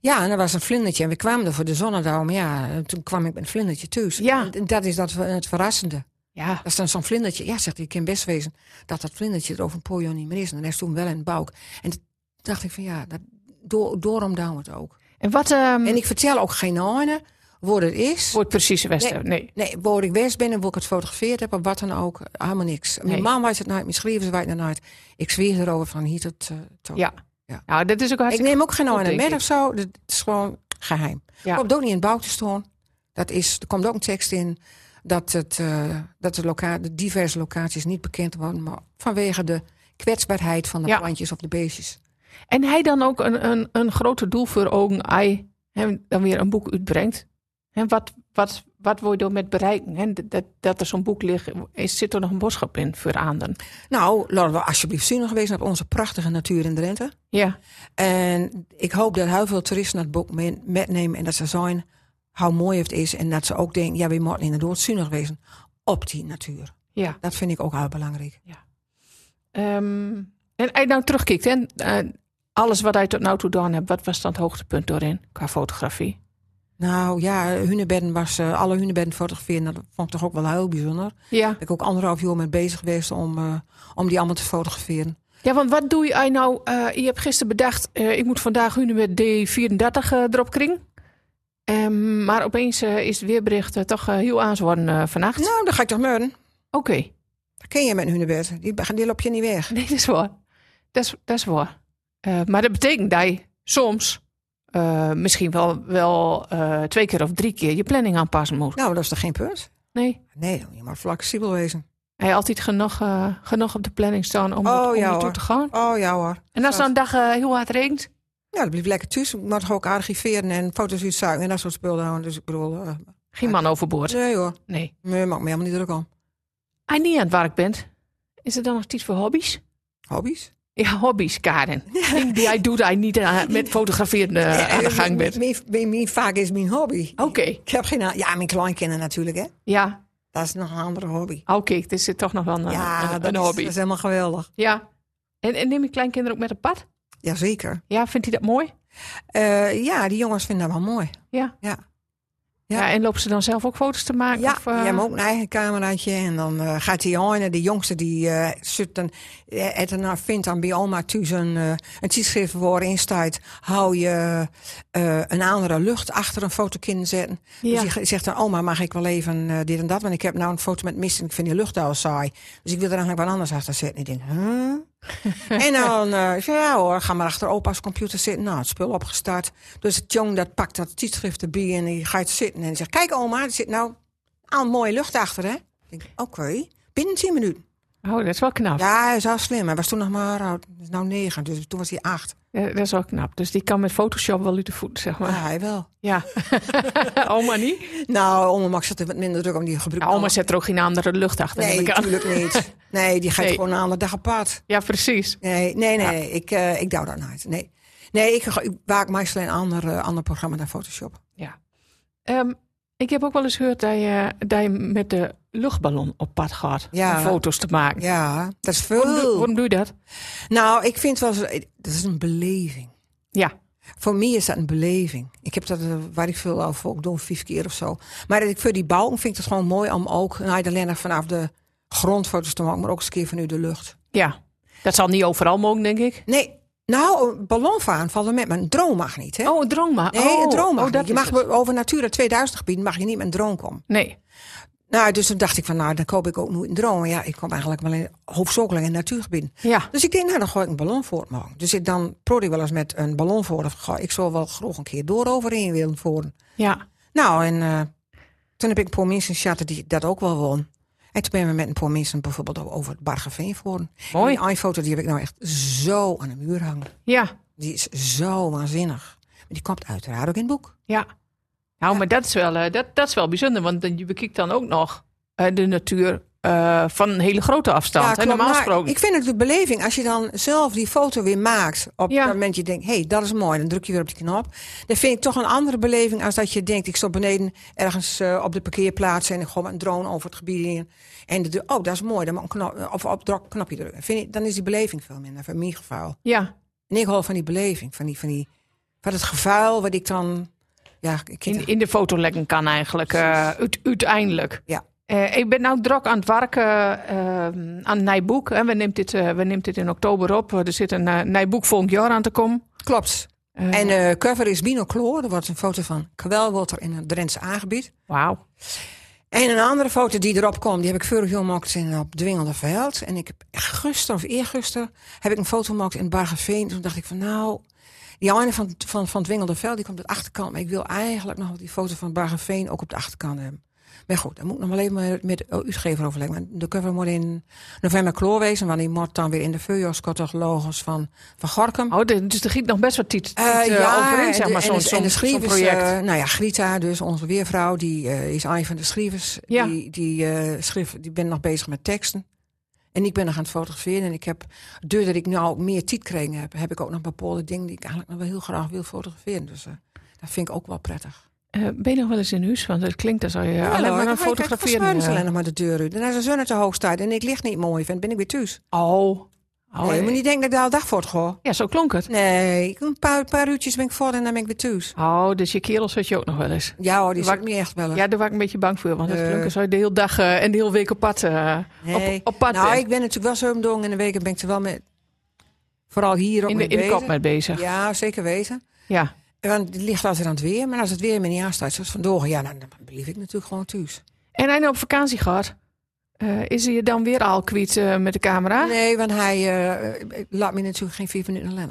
Speaker 1: Ja, en er was een vlindertje. En we kwamen er voor de zonnedauw. Maar ja, eh, toen kwam ik met een vlindertje thuis.
Speaker 3: Ja.
Speaker 1: En dat is dat, ver- het verrassende.
Speaker 3: Ja.
Speaker 1: Dat is dan zo'n vlindertje. Ja, zegt hij, ik kan best wezen dat dat vlindertje er over een paar jaar niet meer is. En hij is toen wel in de buik. En toen dacht ik van ja, dat, door, daarom doen we het ook.
Speaker 3: En wat ehm
Speaker 1: En ik vertel ook geen ene wat het is.
Speaker 3: wordt precies Westen? Nee.
Speaker 1: Nee, waar ik geweest ben en waar ik het fotografeerd heb, of wat dan ook, helemaal niks.
Speaker 3: Nee.
Speaker 1: Mijn man weet het nooit, mijn schrijvers weten het nooit. Ik zweer erover van hier tot... eh, tot.
Speaker 3: Ja.
Speaker 1: Ja.
Speaker 3: Nou, dat is ook
Speaker 1: Ik
Speaker 3: hartstikke
Speaker 1: neem ook geen
Speaker 3: goed,
Speaker 1: ene
Speaker 3: denk
Speaker 1: met
Speaker 3: ik.
Speaker 1: of zo. Dat is gewoon geheim.
Speaker 3: Ja.
Speaker 1: Komt ook niet in het bouw te staan. Dat is, er komt ook een tekst in dat, het, eh, dat de, loca- de diverse locaties niet bekend worden. Maar vanwege de kwetsbaarheid van de
Speaker 3: Ja.
Speaker 1: plantjes of de beestjes.
Speaker 3: En hij dan ook een, een, een grote doel voor ogen, hij hem dan weer een boek uitbrengt. En wat, wat, wat wil je door met bereiken? Hè? Dat, dat- dat er zo'n boek ligt, is, zit er nog een boodschap in voor anderen?
Speaker 1: Nou, laten we alsjeblieft zuinig geweest op onze prachtige natuur in Drenthe.
Speaker 3: Ja,
Speaker 1: En ik hoop dat heel veel toeristen dat boek men- metnemen en dat ze zien hoe mooi het is. En dat ze ook denken, ja, we moeten inderdaad zuinig wezen op die natuur.
Speaker 3: ja.
Speaker 1: Dat vind ik ook heel belangrijk.
Speaker 3: Ehm, en hij nou terugkijkt, hè? eh, alles wat hij tot nu toe gedaan heeft, wat was dan het hoogtepunt doorin qua fotografie?
Speaker 1: Nou ja, hunebedden was, eh, alle hunebedden fotograferen, dat vond ik toch ook wel heel bijzonder.
Speaker 3: Ja.
Speaker 1: Ben ik ook anderhalf jaar mee bezig geweest om, eh, om die allemaal te fotograferen.
Speaker 3: ja, want wat doe je hij nou? eh, je hebt gisteren bedacht, eh, ik moet vandaag hun met D34 eh, erop kringen. Ehm, maar opeens eh, is het weerbericht eh, toch eh, heel aanzwaren eh vannacht.
Speaker 1: Nou, dan ga ik toch meuren.
Speaker 3: Oké.
Speaker 1: Dat ken je met hunebed. Die, die loop je niet weg.
Speaker 3: Nee, dat is waar. Dat is, dat is waar. Eh, maar dat betekent dat je soms eh, misschien wel, wel eh, twee keer of drie keer je planning aanpassen moet.
Speaker 1: Nou, dat is toch geen punt?
Speaker 3: Nee,
Speaker 1: Nee, dan moet je maar flexibel wezen.
Speaker 3: hij heeft altijd genoeg, eh, genoeg op de planning staan om,
Speaker 1: Oh,
Speaker 3: het- om
Speaker 1: ja,
Speaker 3: naartoe
Speaker 1: hoor.
Speaker 3: te gaan.
Speaker 1: Oh ja hoor.
Speaker 3: En als dan een dag eh, heel hard regent,
Speaker 1: Ja, dat blijft lekker thuis. Ik moet toch ook archiveren en foto's uitzuigen en dat soort spullen houden. Dus ik bedoel, eh,
Speaker 3: geen man overboord.
Speaker 1: nee hoor.
Speaker 3: Nee.
Speaker 1: Nee, maakt me helemaal niet druk om.
Speaker 3: Als je niet aan het werk bent, is er dan nog iets voor hobby's?
Speaker 1: Hobby's?
Speaker 3: Ja, hobby's, Karen. Dingen die hij doet, hij niet aan- met fotograferen eh, aan de gang Oh. bent.
Speaker 1: Mijn- mijn- mijn vaak is mijn hobby.
Speaker 3: Oké,
Speaker 1: Ik heb geen... a- Ja, mijn kleinkinderen natuurlijk, hè.
Speaker 3: ja.
Speaker 1: Dat is nog een andere hobby.
Speaker 3: Oké, er zit toch nog wel een,
Speaker 1: ja,
Speaker 3: een,
Speaker 1: dat,
Speaker 3: een
Speaker 1: is,
Speaker 3: hobby.
Speaker 1: dat is helemaal geweldig.
Speaker 3: Ja. En, en neem je kleinkinderen ook met op pad?
Speaker 1: Jazeker.
Speaker 3: Ja, vindt hij dat mooi?
Speaker 1: Eh ja, die jongens vinden dat wel mooi.
Speaker 3: Ja.
Speaker 1: Ja.
Speaker 3: Ja.
Speaker 1: Ja.
Speaker 3: en lopen ze dan zelf ook foto's te maken?
Speaker 1: Ja,
Speaker 3: of,
Speaker 1: je
Speaker 3: eh,
Speaker 1: hebt ook een eigen cameraatje. En dan eh, gaat die ene, die jongste, die eh zit dan, eh, het dan vindt dan bij oma thuis een, eh, een tijdschrift waarin staat... hou je eh, een andere lucht achter een fotokin zetten.
Speaker 3: Ja.
Speaker 1: Dus die zegt dan, oma, mag ik wel even eh, dit en dat? Want ik heb nou een foto met mist en ik vind die lucht al saai. Dus ik wil er eigenlijk wat anders achter zetten. Ik denk, huh? en dan, eh, ik zeg, ja hoor, ga maar achter opa's computer zitten. Nou, het spul opgestart. Dus het jong dat pakt dat tijdschrift erbij en die gaat zitten. En die zegt, kijk oma, er zit nou al mooie lucht achter, hè? Ik denk, oké, binnen 10 minuten.
Speaker 3: Oh, dat is wel knap.
Speaker 1: Ja, hij is al slim. Hij was toen nog maar, oud. Hij is nou 9, dus toen was hij 8.
Speaker 3: Ja, dat is wel knap. Dus die kan met Photoshop wel uit de voet, zeg maar.
Speaker 1: Ja, hij wel.
Speaker 3: Ja. oma niet?
Speaker 1: Nou, oma Max zat er wat minder druk om die gebruik.
Speaker 3: Ja, oma zet er ook geen andere lucht achter.
Speaker 1: Nee,
Speaker 3: neem ik aan.
Speaker 1: natuurlijk niet. Nee, die gaat
Speaker 3: Nee.
Speaker 1: gewoon een andere dag op pad.
Speaker 3: Ja, precies.
Speaker 1: Nee, nee, nee. nee. Ik, eh ik douw dat nooit. Nee, nee ik, ik maak meestal een ander, eh, ander programma dan Photoshop.
Speaker 3: Ja. Ehm, ik heb ook wel eens gehoord dat je, dat je met de luchtballon op pad gaat
Speaker 1: Ja.
Speaker 3: om foto's te maken.
Speaker 1: Ja, dat is
Speaker 3: Waarom, doe,
Speaker 1: veel.
Speaker 3: waarom doe je dat?
Speaker 1: Nou, ik vind wel, zo- dat is een beleving.
Speaker 3: Ja,
Speaker 1: Voor mij is dat een beleving. Ik heb dat, eh, waar ik veel over ook doe, vijf keer of zo. Maar dat ik voor die bouw vind ik het gewoon mooi om ook, nou, alleen nog vanaf de grond foto's te maken, maar ook eens een keer van u de lucht.
Speaker 3: ja. Dat zal niet overal mogen, denk ik.
Speaker 1: Nee, nou, een ballonvaren vallen met, maar een drone mag niet, hè?
Speaker 3: Oh, een drone maar.
Speaker 1: nee,
Speaker 3: oh,
Speaker 1: een drone mag
Speaker 3: oh,
Speaker 1: niet. Je
Speaker 3: is
Speaker 1: mag
Speaker 3: het.
Speaker 1: be- over Natura 2000 gebied mag je niet met een drone komen.
Speaker 3: Nee,
Speaker 1: Nou, dus toen dacht ik van, nou, dan koop ik ook nooit een drone. Ja, ik kom eigenlijk maar alleen hoofdzakelijk in natuurgebieden.
Speaker 3: ja.
Speaker 1: Dus ik denk, nou, dan gooi ik een ballon voortmaken. Dus ik dan probeer ik wel eens met een ballon voort. of gooi Ik zou wel graag een keer door overheen willen voeren.
Speaker 3: Ja,
Speaker 1: Nou, en eh, toen heb ik een paar mensen chatten die dat ook wel won. En toen ben we met een paar mensen bijvoorbeeld over het Bargeveen voor.
Speaker 3: Mooi.
Speaker 1: Die iPhoto die heb ik nou echt zo aan de muur hangen.
Speaker 3: ja,
Speaker 1: Die is zo waanzinnig. Maar die komt uiteraard ook in het boek.
Speaker 3: ja. Nou, maar dat is, wel, eh, dat, dat is wel bijzonder, want dan- je bekijkt dan ook nog eh, de natuur eh, van een hele grote afstand. en
Speaker 1: klopt,
Speaker 3: normaal
Speaker 1: maar
Speaker 3: gesproken.
Speaker 1: Ik vind het de beleving als je dan zelf die foto weer maakt. Op
Speaker 3: Ja.
Speaker 1: het moment je denkt, hé, hey, dat is mooi. Dan druk je weer op die knop. Dan vind ik toch een andere beleving als dat je denkt, ik stop beneden ergens eh, op de parkeerplaats en ik gooi een drone over het gebied heen. En de, oh, dat is mooi. Dan moet ik een knop, of op druk knopje drukken. Vind ik, dan is die beleving veel minder, in mijn geval.
Speaker 3: Ja,
Speaker 1: En ik hou van die beleving, van die, van die, van het gevuil wat ik dan, ja, ik
Speaker 3: in, in de foto leggen kan eigenlijk, eh, uit- uiteindelijk.
Speaker 1: ja.
Speaker 3: Eh, ik ben nu druk aan het werken eh, aan een nieuw boek. En we, neemt dit, eh, we neemt dit in oktober op. Er zit een eh, nieuw boek volgend jaar aan te komen.
Speaker 1: Klopt.
Speaker 3: Eh.
Speaker 1: en eh cover is binocloor. Er wordt een foto van kwelwater in het Drentse aangebied.
Speaker 3: Wauw.
Speaker 1: En een andere foto die erop komt, die heb ik vorig jaar gemaakt in, op Dwingelde Veld. En ik heb gisteren of eergisteren heb ik een foto gemaakt in Bargeveen. Toen dacht ik van nou, die ene van, van, van Dwingelde Veld die komt op de achterkant. Maar ik wil eigenlijk nog wel die foto van Bargeveen ook op de achterkant hebben. Maar goed, dan moet ik nog wel even met, met de uitgever overleggen. Maar de cover moet in november kloor wezen. Want die moet dan weer in de Feuerskotterlogos van, van Gorkum.
Speaker 3: Oh, de- dus er giet nog best wat tiet, tiet
Speaker 1: Eh,
Speaker 3: eh, overheen,
Speaker 1: en
Speaker 3: zeg
Speaker 1: de-
Speaker 3: maar,
Speaker 1: en
Speaker 3: zo'n
Speaker 1: de- en de
Speaker 3: zo'n- zo'n
Speaker 1: schrijvers,
Speaker 3: project.
Speaker 1: eh, nou ja, Grita, dus onze weervrouw, die eh, is een van de schrijvers.
Speaker 3: Ja.
Speaker 1: Die, die, eh schreef, die ben nog bezig met teksten. En ik ben nog aan het fotograferen. En ik heb, doordat ik nou meer tijd kreeg, heb, heb ik ook nog bepaalde dingen die ik eigenlijk nog wel heel graag wil fotograferen. Dus eh, dat vind ik ook wel prettig.
Speaker 3: Eh, ben je nog wel eens in huis? Want het klinkt als je alleen maar een fotograferen...
Speaker 1: Ik
Speaker 3: eh,
Speaker 1: alleen nog maar de deur uit. En als de zon uit de hoogte staat en ik licht niet mooi vind, ben ik weer thuis.
Speaker 3: Oh. oh
Speaker 1: nee, je
Speaker 3: eh,
Speaker 1: moet niet denken dat ik daar al dag voor het gooi.
Speaker 3: Ja, zo klonk het.
Speaker 1: Nee, ik- een paar, paar uurtjes ben ik voor en dan ben ik weer thuis.
Speaker 3: Oh, dus je kerels had je ook nog wel eens.
Speaker 1: Ja hoor, die
Speaker 3: Waar-
Speaker 1: zit me echt wel eens.
Speaker 3: Ja, daar was ik een beetje bang voor. Want het
Speaker 1: Nee.
Speaker 3: klonk als je de hele dag eh, en de hele week op pad, eh,
Speaker 1: Nee.
Speaker 3: op, op pad
Speaker 1: nou,
Speaker 3: bent.
Speaker 1: ik ben natuurlijk wel zo dong in de week. en ben ik er wel met. Vooral hier ook
Speaker 3: in de,
Speaker 1: mee
Speaker 3: in de
Speaker 1: bezig.
Speaker 3: kop mee bezig. Ja.
Speaker 1: Ja, zeker weten. Want het ligt altijd aan het weer. Maar als het weer me niet aanstaat, zoals vandoor, ja, dan, dan blijf ik natuurlijk gewoon thuis.
Speaker 3: En hij nou op vakantie gehad? Eh, is hij je dan weer al kwiet eh, met de camera?
Speaker 1: Nee, want hij eh, laat me natuurlijk geen vier minuten alleen.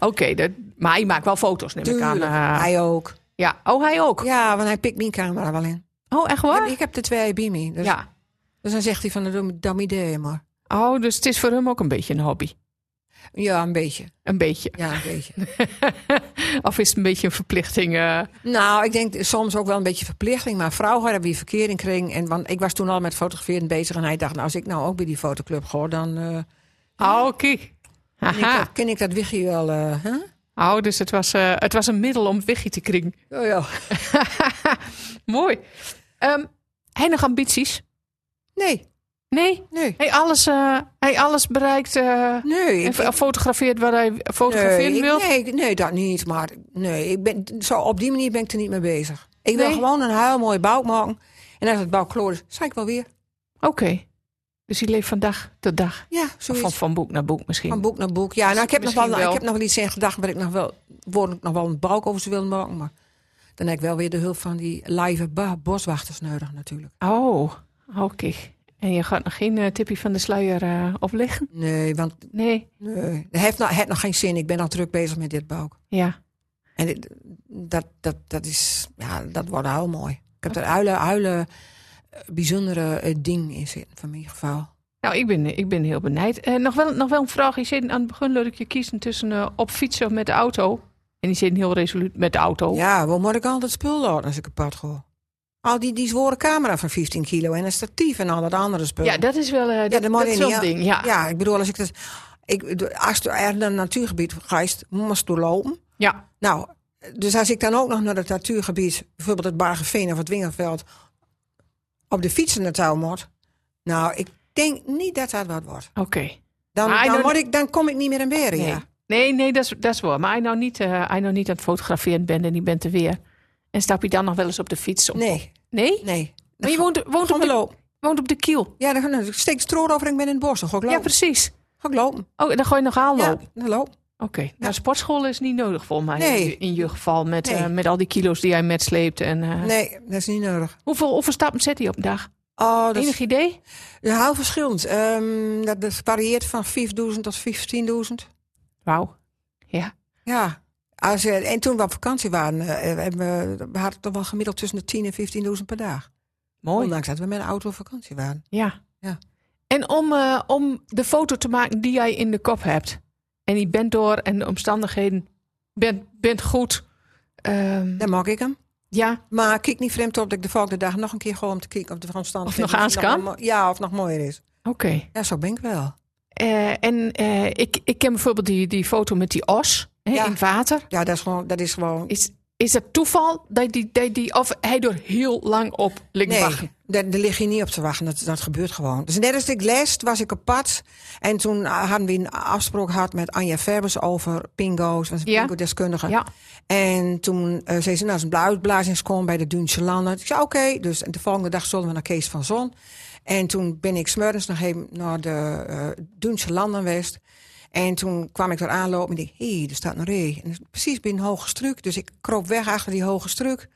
Speaker 3: Oké, dat- maar hij maakt wel foto's, neem ik aan. eh.
Speaker 1: Hij ook.
Speaker 3: ja. Oh, hij ook?
Speaker 1: Ja, want hij pikt mijn camera wel in.
Speaker 3: Oh, echt waar?
Speaker 1: En ik heb de twee bij me. Dus,
Speaker 3: ja.
Speaker 1: dus dan zegt hij van, doe dam idee maar.
Speaker 3: Oh, dus het is voor hem ook een beetje een hobby.
Speaker 1: Ja, een beetje.
Speaker 3: Een beetje.
Speaker 1: Ja, een beetje.
Speaker 3: of is het een beetje een verplichting? eh?
Speaker 1: Nou, ik denk soms ook wel een beetje verplichting. Maar vrouwen hadden weer verkering kring. En, want ik was toen al met fotograferen bezig. En hij dacht, nou, als ik nou ook bij die fotoclub ga, dan eh,
Speaker 3: Oh, kijk.
Speaker 1: ken, ik
Speaker 3: Haha.
Speaker 1: dat, ken ik dat wichie wel. eh, hè?
Speaker 3: Oh, dus het was, eh, het was een middel om het wiggie te kringen.
Speaker 1: Oh, ja.
Speaker 3: Mooi. Ehm hij nog ambities?
Speaker 1: Nee,
Speaker 3: Nee?
Speaker 1: nee,
Speaker 3: Hij alles, eh, hij alles bereikt eh,
Speaker 1: nee.
Speaker 3: en
Speaker 1: ik-
Speaker 3: v- fotografeert waar hij fotograferen
Speaker 1: nee, ik-
Speaker 3: wil?
Speaker 1: Nee, ik- nee, dat niet. Maar nee, ik ben, zo op die manier ben ik er niet mee bezig. Ik wil
Speaker 3: Nee?
Speaker 1: gewoon een heel mooi bouw maken. En als het bouw kloor is, zei ik wel weer.
Speaker 3: Oké. Dus hij leeft van dag tot dag.
Speaker 1: Ja,
Speaker 3: Of
Speaker 1: zoiets.
Speaker 3: van, van boek naar boek misschien.
Speaker 1: Van boek naar boek. Ja, nou, ik, heb nog wel,
Speaker 3: Dus Misschien wel.
Speaker 1: ik heb nog wel iets in gedachten waar ik nog wel, waar ik nog wel een balk over zou willen maken. Maar dan heb ik wel weer de hulp van die live ba- boswachters nodig natuurlijk.
Speaker 3: Oh, oké. En je gaat nog geen eh, tipje van de sluier eh opleggen?
Speaker 1: Nee, want
Speaker 3: Nee.
Speaker 1: nee, het heeft, nog, het heeft nog geen zin. Ik ben al druk bezig met dit balk.
Speaker 3: Ja.
Speaker 1: En dit- dat, dat, dat, is, ja, dat wordt heel mooi. Ik heb er uilen, uilen eh, bijzondere eh, ding in zitten, van mijn geval.
Speaker 3: Nou, ik ben, ik ben heel benijd. Eh, nog, wel, nog wel een vraag. Je zit aan het begin dat ik je kiezen tussen eh, op fietsen of met de auto. En die zit heel resoluut met de auto.
Speaker 1: Ja, waar moet ik al dat spul laten als ik apart ga? Al die, die zware camera van 15 kilo en een statief en al dat andere spul.
Speaker 3: Ja, dat is wel, eh, dat,
Speaker 1: dat
Speaker 3: dat
Speaker 1: moet
Speaker 3: is
Speaker 1: je
Speaker 3: wel
Speaker 1: niet,
Speaker 3: een ding. Ja.
Speaker 1: Ja, ik bedoel, als ik dat. Ik, de- als je naar een natuurgebied gaat, moest doorlopen.
Speaker 3: Ja.
Speaker 1: Nou, dus als ik dan ook nog naar het natuurgebied, bijvoorbeeld het Bargeveen of het Wingerveld, op de fietsen naartoe moet. Nou, ik denk niet dat dat wat wordt.
Speaker 3: oké.
Speaker 1: Dan,
Speaker 3: Maar hij
Speaker 1: dan,
Speaker 3: doet-
Speaker 1: word ik, dan kom ik niet meer in beren.
Speaker 3: Nee,
Speaker 1: Ja.
Speaker 3: nee, nee, dat, is, dat is waar. Maar als je nou niet, eh, als je nou niet aan het fotograferen bent en je bent er weer. En stap je dan nog wel eens op de fiets op?
Speaker 1: Nee,
Speaker 3: Nee?
Speaker 1: nee.
Speaker 3: Maar je woont, woont, op
Speaker 1: Gewoon
Speaker 3: de,
Speaker 1: lopen.
Speaker 3: woont op de kiel.
Speaker 1: Ja, dan, dan steek ik stroor over en ik ben in het bos. Dan ga ik
Speaker 3: Ja,
Speaker 1: lopen.
Speaker 3: precies.
Speaker 1: ga ik lopen.
Speaker 3: Oh, en dan ga je nog aanlopen.
Speaker 1: Ja, dan loop.
Speaker 3: Oké, nou sportschool is niet nodig voor mij
Speaker 1: Nee.
Speaker 3: in, je- in je geval met,
Speaker 1: Nee.
Speaker 3: eh, met al die kilo's die jij metsleept. En, eh,
Speaker 1: Nee, dat is niet nodig.
Speaker 3: hoeveel, hoeveel stappen zet hij op een dag?
Speaker 1: Oh, dat
Speaker 3: Enig idee?
Speaker 1: Ja, heel verschillend. Ehm, dat, dat varieert van 5.000 tot 15.000.
Speaker 3: Wauw. Ja.
Speaker 1: Ja. Als, eh, en toen we op vakantie waren, eh, hebben we, we hadden toch wel gemiddeld tussen de 10.000 en 15.000 per dag.
Speaker 3: Mooi.
Speaker 1: Ondanks dat we met een auto op vakantie waren.
Speaker 3: Ja.
Speaker 1: Ja.
Speaker 3: En om, eh, om de foto te maken die jij in de kop hebt. En die bent door en de omstandigheden. Bent, bent goed. Ehm,
Speaker 1: Dan mag ik hem.
Speaker 3: ja.
Speaker 1: Maar kijk niet vreemd op dat ik de volgende dag nog een keer gewoon om te kijken of de omstandigheden...
Speaker 3: Of nog
Speaker 1: misschien
Speaker 3: aanskan?
Speaker 1: wel mo- Ja, of nog mooier is.
Speaker 3: Oké.
Speaker 1: Ja, zo ben ik wel.
Speaker 3: Eh, en eh, ik, ik ken bijvoorbeeld die, die foto met die os hè,
Speaker 1: Ja.
Speaker 3: in het water.
Speaker 1: Ja, dat is gewoon... Dat is gewoon
Speaker 3: Is, is het toeval dat die, dat die, of hij er heel lang op ligt
Speaker 1: nee,
Speaker 3: wachten?
Speaker 1: daar, daar lig je niet op te wachten. Dat, dat gebeurt gewoon. Dus net als ik les, was ik op pad. En toen eh, hadden we een afspraak gehad met Anja Verbers over pingo's. was een
Speaker 3: Ja.
Speaker 1: pingo-deskundige.
Speaker 3: Ja,
Speaker 1: En toen eh, zei ze, nou, als een uitblazing kwam bij de Duinse Landen. Ik zei, oké. Dus de volgende dag zullen we naar Kees van Zon. En toen ben ik smorgens nog even naar de eh Duinse Landen geweest. En toen kwam ik er aanlopen en ik dacht, hé, hey, er staat een ree. En precies binnen een hoge struik. Dus ik kroop weg achter die hoge struik.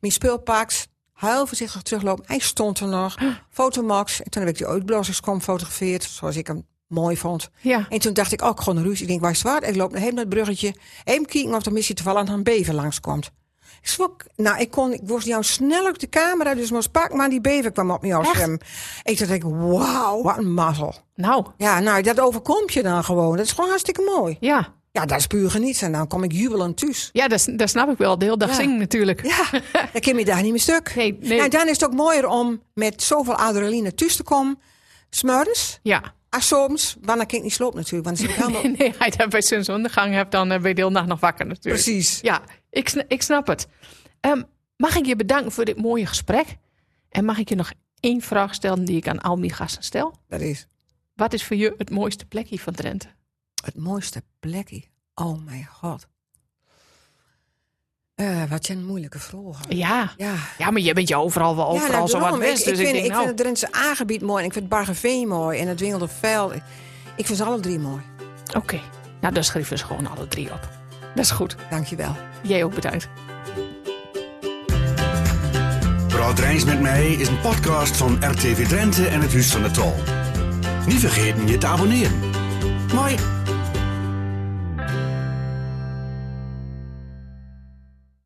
Speaker 1: Mijn spul pakt, heel voorzichtig teruglopen. Hij stond er nog. Fotomax. En toen heb ik die uitblazingskom gefotografeerd, zoals ik hem mooi vond.
Speaker 3: ja.
Speaker 1: En toen dacht ik ook gewoon ruzie. Ik denk, waar is het waar? Ik loop naar hem naar het bruggetje. Even kijken of er misschien toevallig een bever langskomt. Ik zwak, nou, ik kon, ik was jou snel op de camera, dus moest pak maar die bever kwam op mijn
Speaker 3: Echt?
Speaker 1: scherm. Ik dacht, ik, wauw, wat een mazzel.
Speaker 3: Nou,
Speaker 1: Ja, nou, dat overkomt je dan gewoon. Dat is gewoon hartstikke mooi.
Speaker 3: ja.
Speaker 1: Ja, dat is puur genieten. En dan kom ik jubelend thuis.
Speaker 3: Ja, dat, s- dat snap ik wel. De hele dag
Speaker 1: Ja.
Speaker 3: zingen natuurlijk.
Speaker 1: Ja, dan kom je daar niet meer stuk.
Speaker 3: Nee, nee.
Speaker 1: Nou, dan is het ook mooier om met zoveel adrenaline thuis te komen. Smurders,
Speaker 3: Ja.
Speaker 1: ah, soms, want dan kan ik niet slopen natuurlijk, want dan zit ik helemaal...
Speaker 3: Nee, hij daar bij zonsondergang hebt, dan eh, ben je de hele nacht nog wakker natuurlijk.
Speaker 1: Precies.
Speaker 3: Ja, ik, sna- ik snap het. Ehm, mag ik je bedanken voor dit mooie gesprek? En mag ik je nog één vraag stellen die ik aan al mijn gasten stel?
Speaker 1: Dat is...
Speaker 3: Wat is voor je het mooiste plekje van Drenthe?
Speaker 1: Het mooiste plekje. Oh mijn god. Eh, wat zijn moeilijke vragen.
Speaker 3: Ja.
Speaker 1: Ja.
Speaker 3: Ja, maar jij bent je overal wel
Speaker 1: Ja,
Speaker 3: overal
Speaker 1: nou,
Speaker 3: zo wat
Speaker 1: daarom.
Speaker 3: west.
Speaker 1: ik,
Speaker 3: Dus ik,
Speaker 1: vind,
Speaker 3: denk,
Speaker 1: vind
Speaker 3: nou,
Speaker 1: het Drentse aangebied mooi. En ik vind het Bargeveen mooi. En het Wingelderveld. Ik, ik vind ze alle drie mooi.
Speaker 3: oké. Nou, dan schrijven ze gewoon alle drie op. Dat is goed.
Speaker 1: Dankjewel.
Speaker 3: Jij ook bedankt.
Speaker 2: Praat Drijns met mij is een podcast van RTV Drenthe en het Huis van de Tal. Niet vergeten je te abonneren. Mooi.